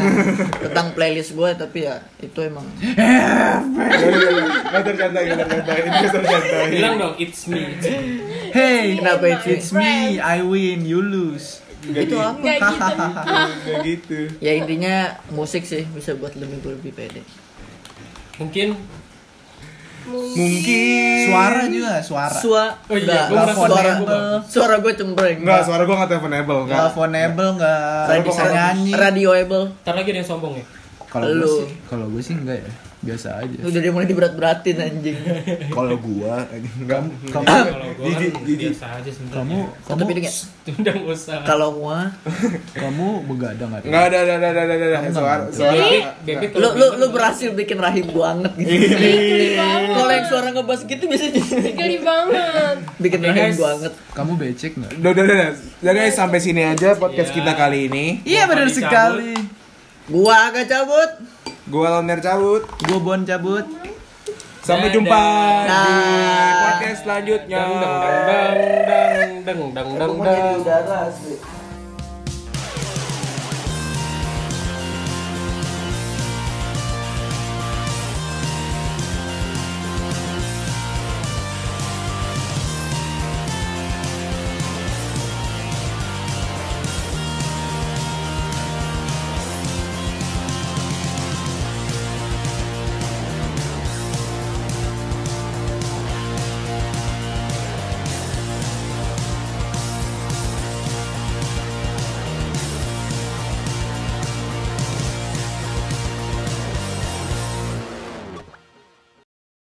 Speaker 4: tentang playlist gue tapi ya itu emang
Speaker 3: Iya, Gak tercantai, gak tercantai, ini
Speaker 1: Iya.
Speaker 3: tercantai.
Speaker 2: bilang dong it's me It's me.
Speaker 1: Hey,
Speaker 4: Kenapa
Speaker 5: Emang.
Speaker 4: itu?
Speaker 1: it's me, I win, you lose.
Speaker 4: itu apa
Speaker 5: Enggak gitu.
Speaker 3: Gak gitu.
Speaker 4: ya intinya musik sih bisa buat lebih gue lebih pede
Speaker 2: mungkin
Speaker 3: Mungkin.
Speaker 1: Suara juga, suara.
Speaker 4: suara
Speaker 2: Oh iya, gua merasa
Speaker 4: suara
Speaker 2: suara gua.
Speaker 4: suara gue cembreng
Speaker 3: Enggak, suara gue gak teleponable. Enggak.
Speaker 1: Teleponable nggak
Speaker 4: Radio-
Speaker 1: bisa nyanyi.
Speaker 4: radioable
Speaker 2: ntar lagi ada yang sombong ya
Speaker 3: Kalau gue
Speaker 4: Lu.
Speaker 3: sih,
Speaker 1: Kalau gue sih enggak ya, biasa aja.
Speaker 4: Udah dia mulai diberat-beratin anjing.
Speaker 3: kalau gue enggak
Speaker 1: Kamu,
Speaker 2: Kalau gue kan
Speaker 3: Jijik, jijik.
Speaker 2: biasa aja
Speaker 1: kamu,
Speaker 2: sebenarnya.
Speaker 1: kamu,
Speaker 4: Tapi dia kayak
Speaker 2: Udah nggak usah.
Speaker 4: kalau gua
Speaker 1: kamu begadang ada.
Speaker 3: Enggak ada, ada, ada, ada, ada, ada. Soal, soal,
Speaker 2: Bebek
Speaker 4: lu
Speaker 2: kalau
Speaker 4: lu lu
Speaker 2: bingung-
Speaker 4: berhasil bikin rahim gua anget gitu.
Speaker 5: Geli banget.
Speaker 4: Kalau yang suara ngebas gitu biasanya
Speaker 5: Geli banget.
Speaker 4: bikin
Speaker 2: Oke,
Speaker 4: rahim
Speaker 2: guys.
Speaker 4: gua anget.
Speaker 1: Kamu becek nggak?
Speaker 3: Udah, udah, udah, udah. Udah, guys, sampai sini aja
Speaker 2: Iya.
Speaker 3: podcast kita kali ini.
Speaker 1: Iya benar
Speaker 2: dicabut.
Speaker 1: sekali.
Speaker 4: Gua agak cabut.
Speaker 3: Gua Loner cabut.
Speaker 1: Gue bon cabut.
Speaker 3: Sampai
Speaker 2: Dadah.
Speaker 3: jumpa di
Speaker 4: Dah.
Speaker 3: podcast selanjutnya.
Speaker 2: Dang dang dang dang dang dang dang dang.
Speaker 4: udara asli.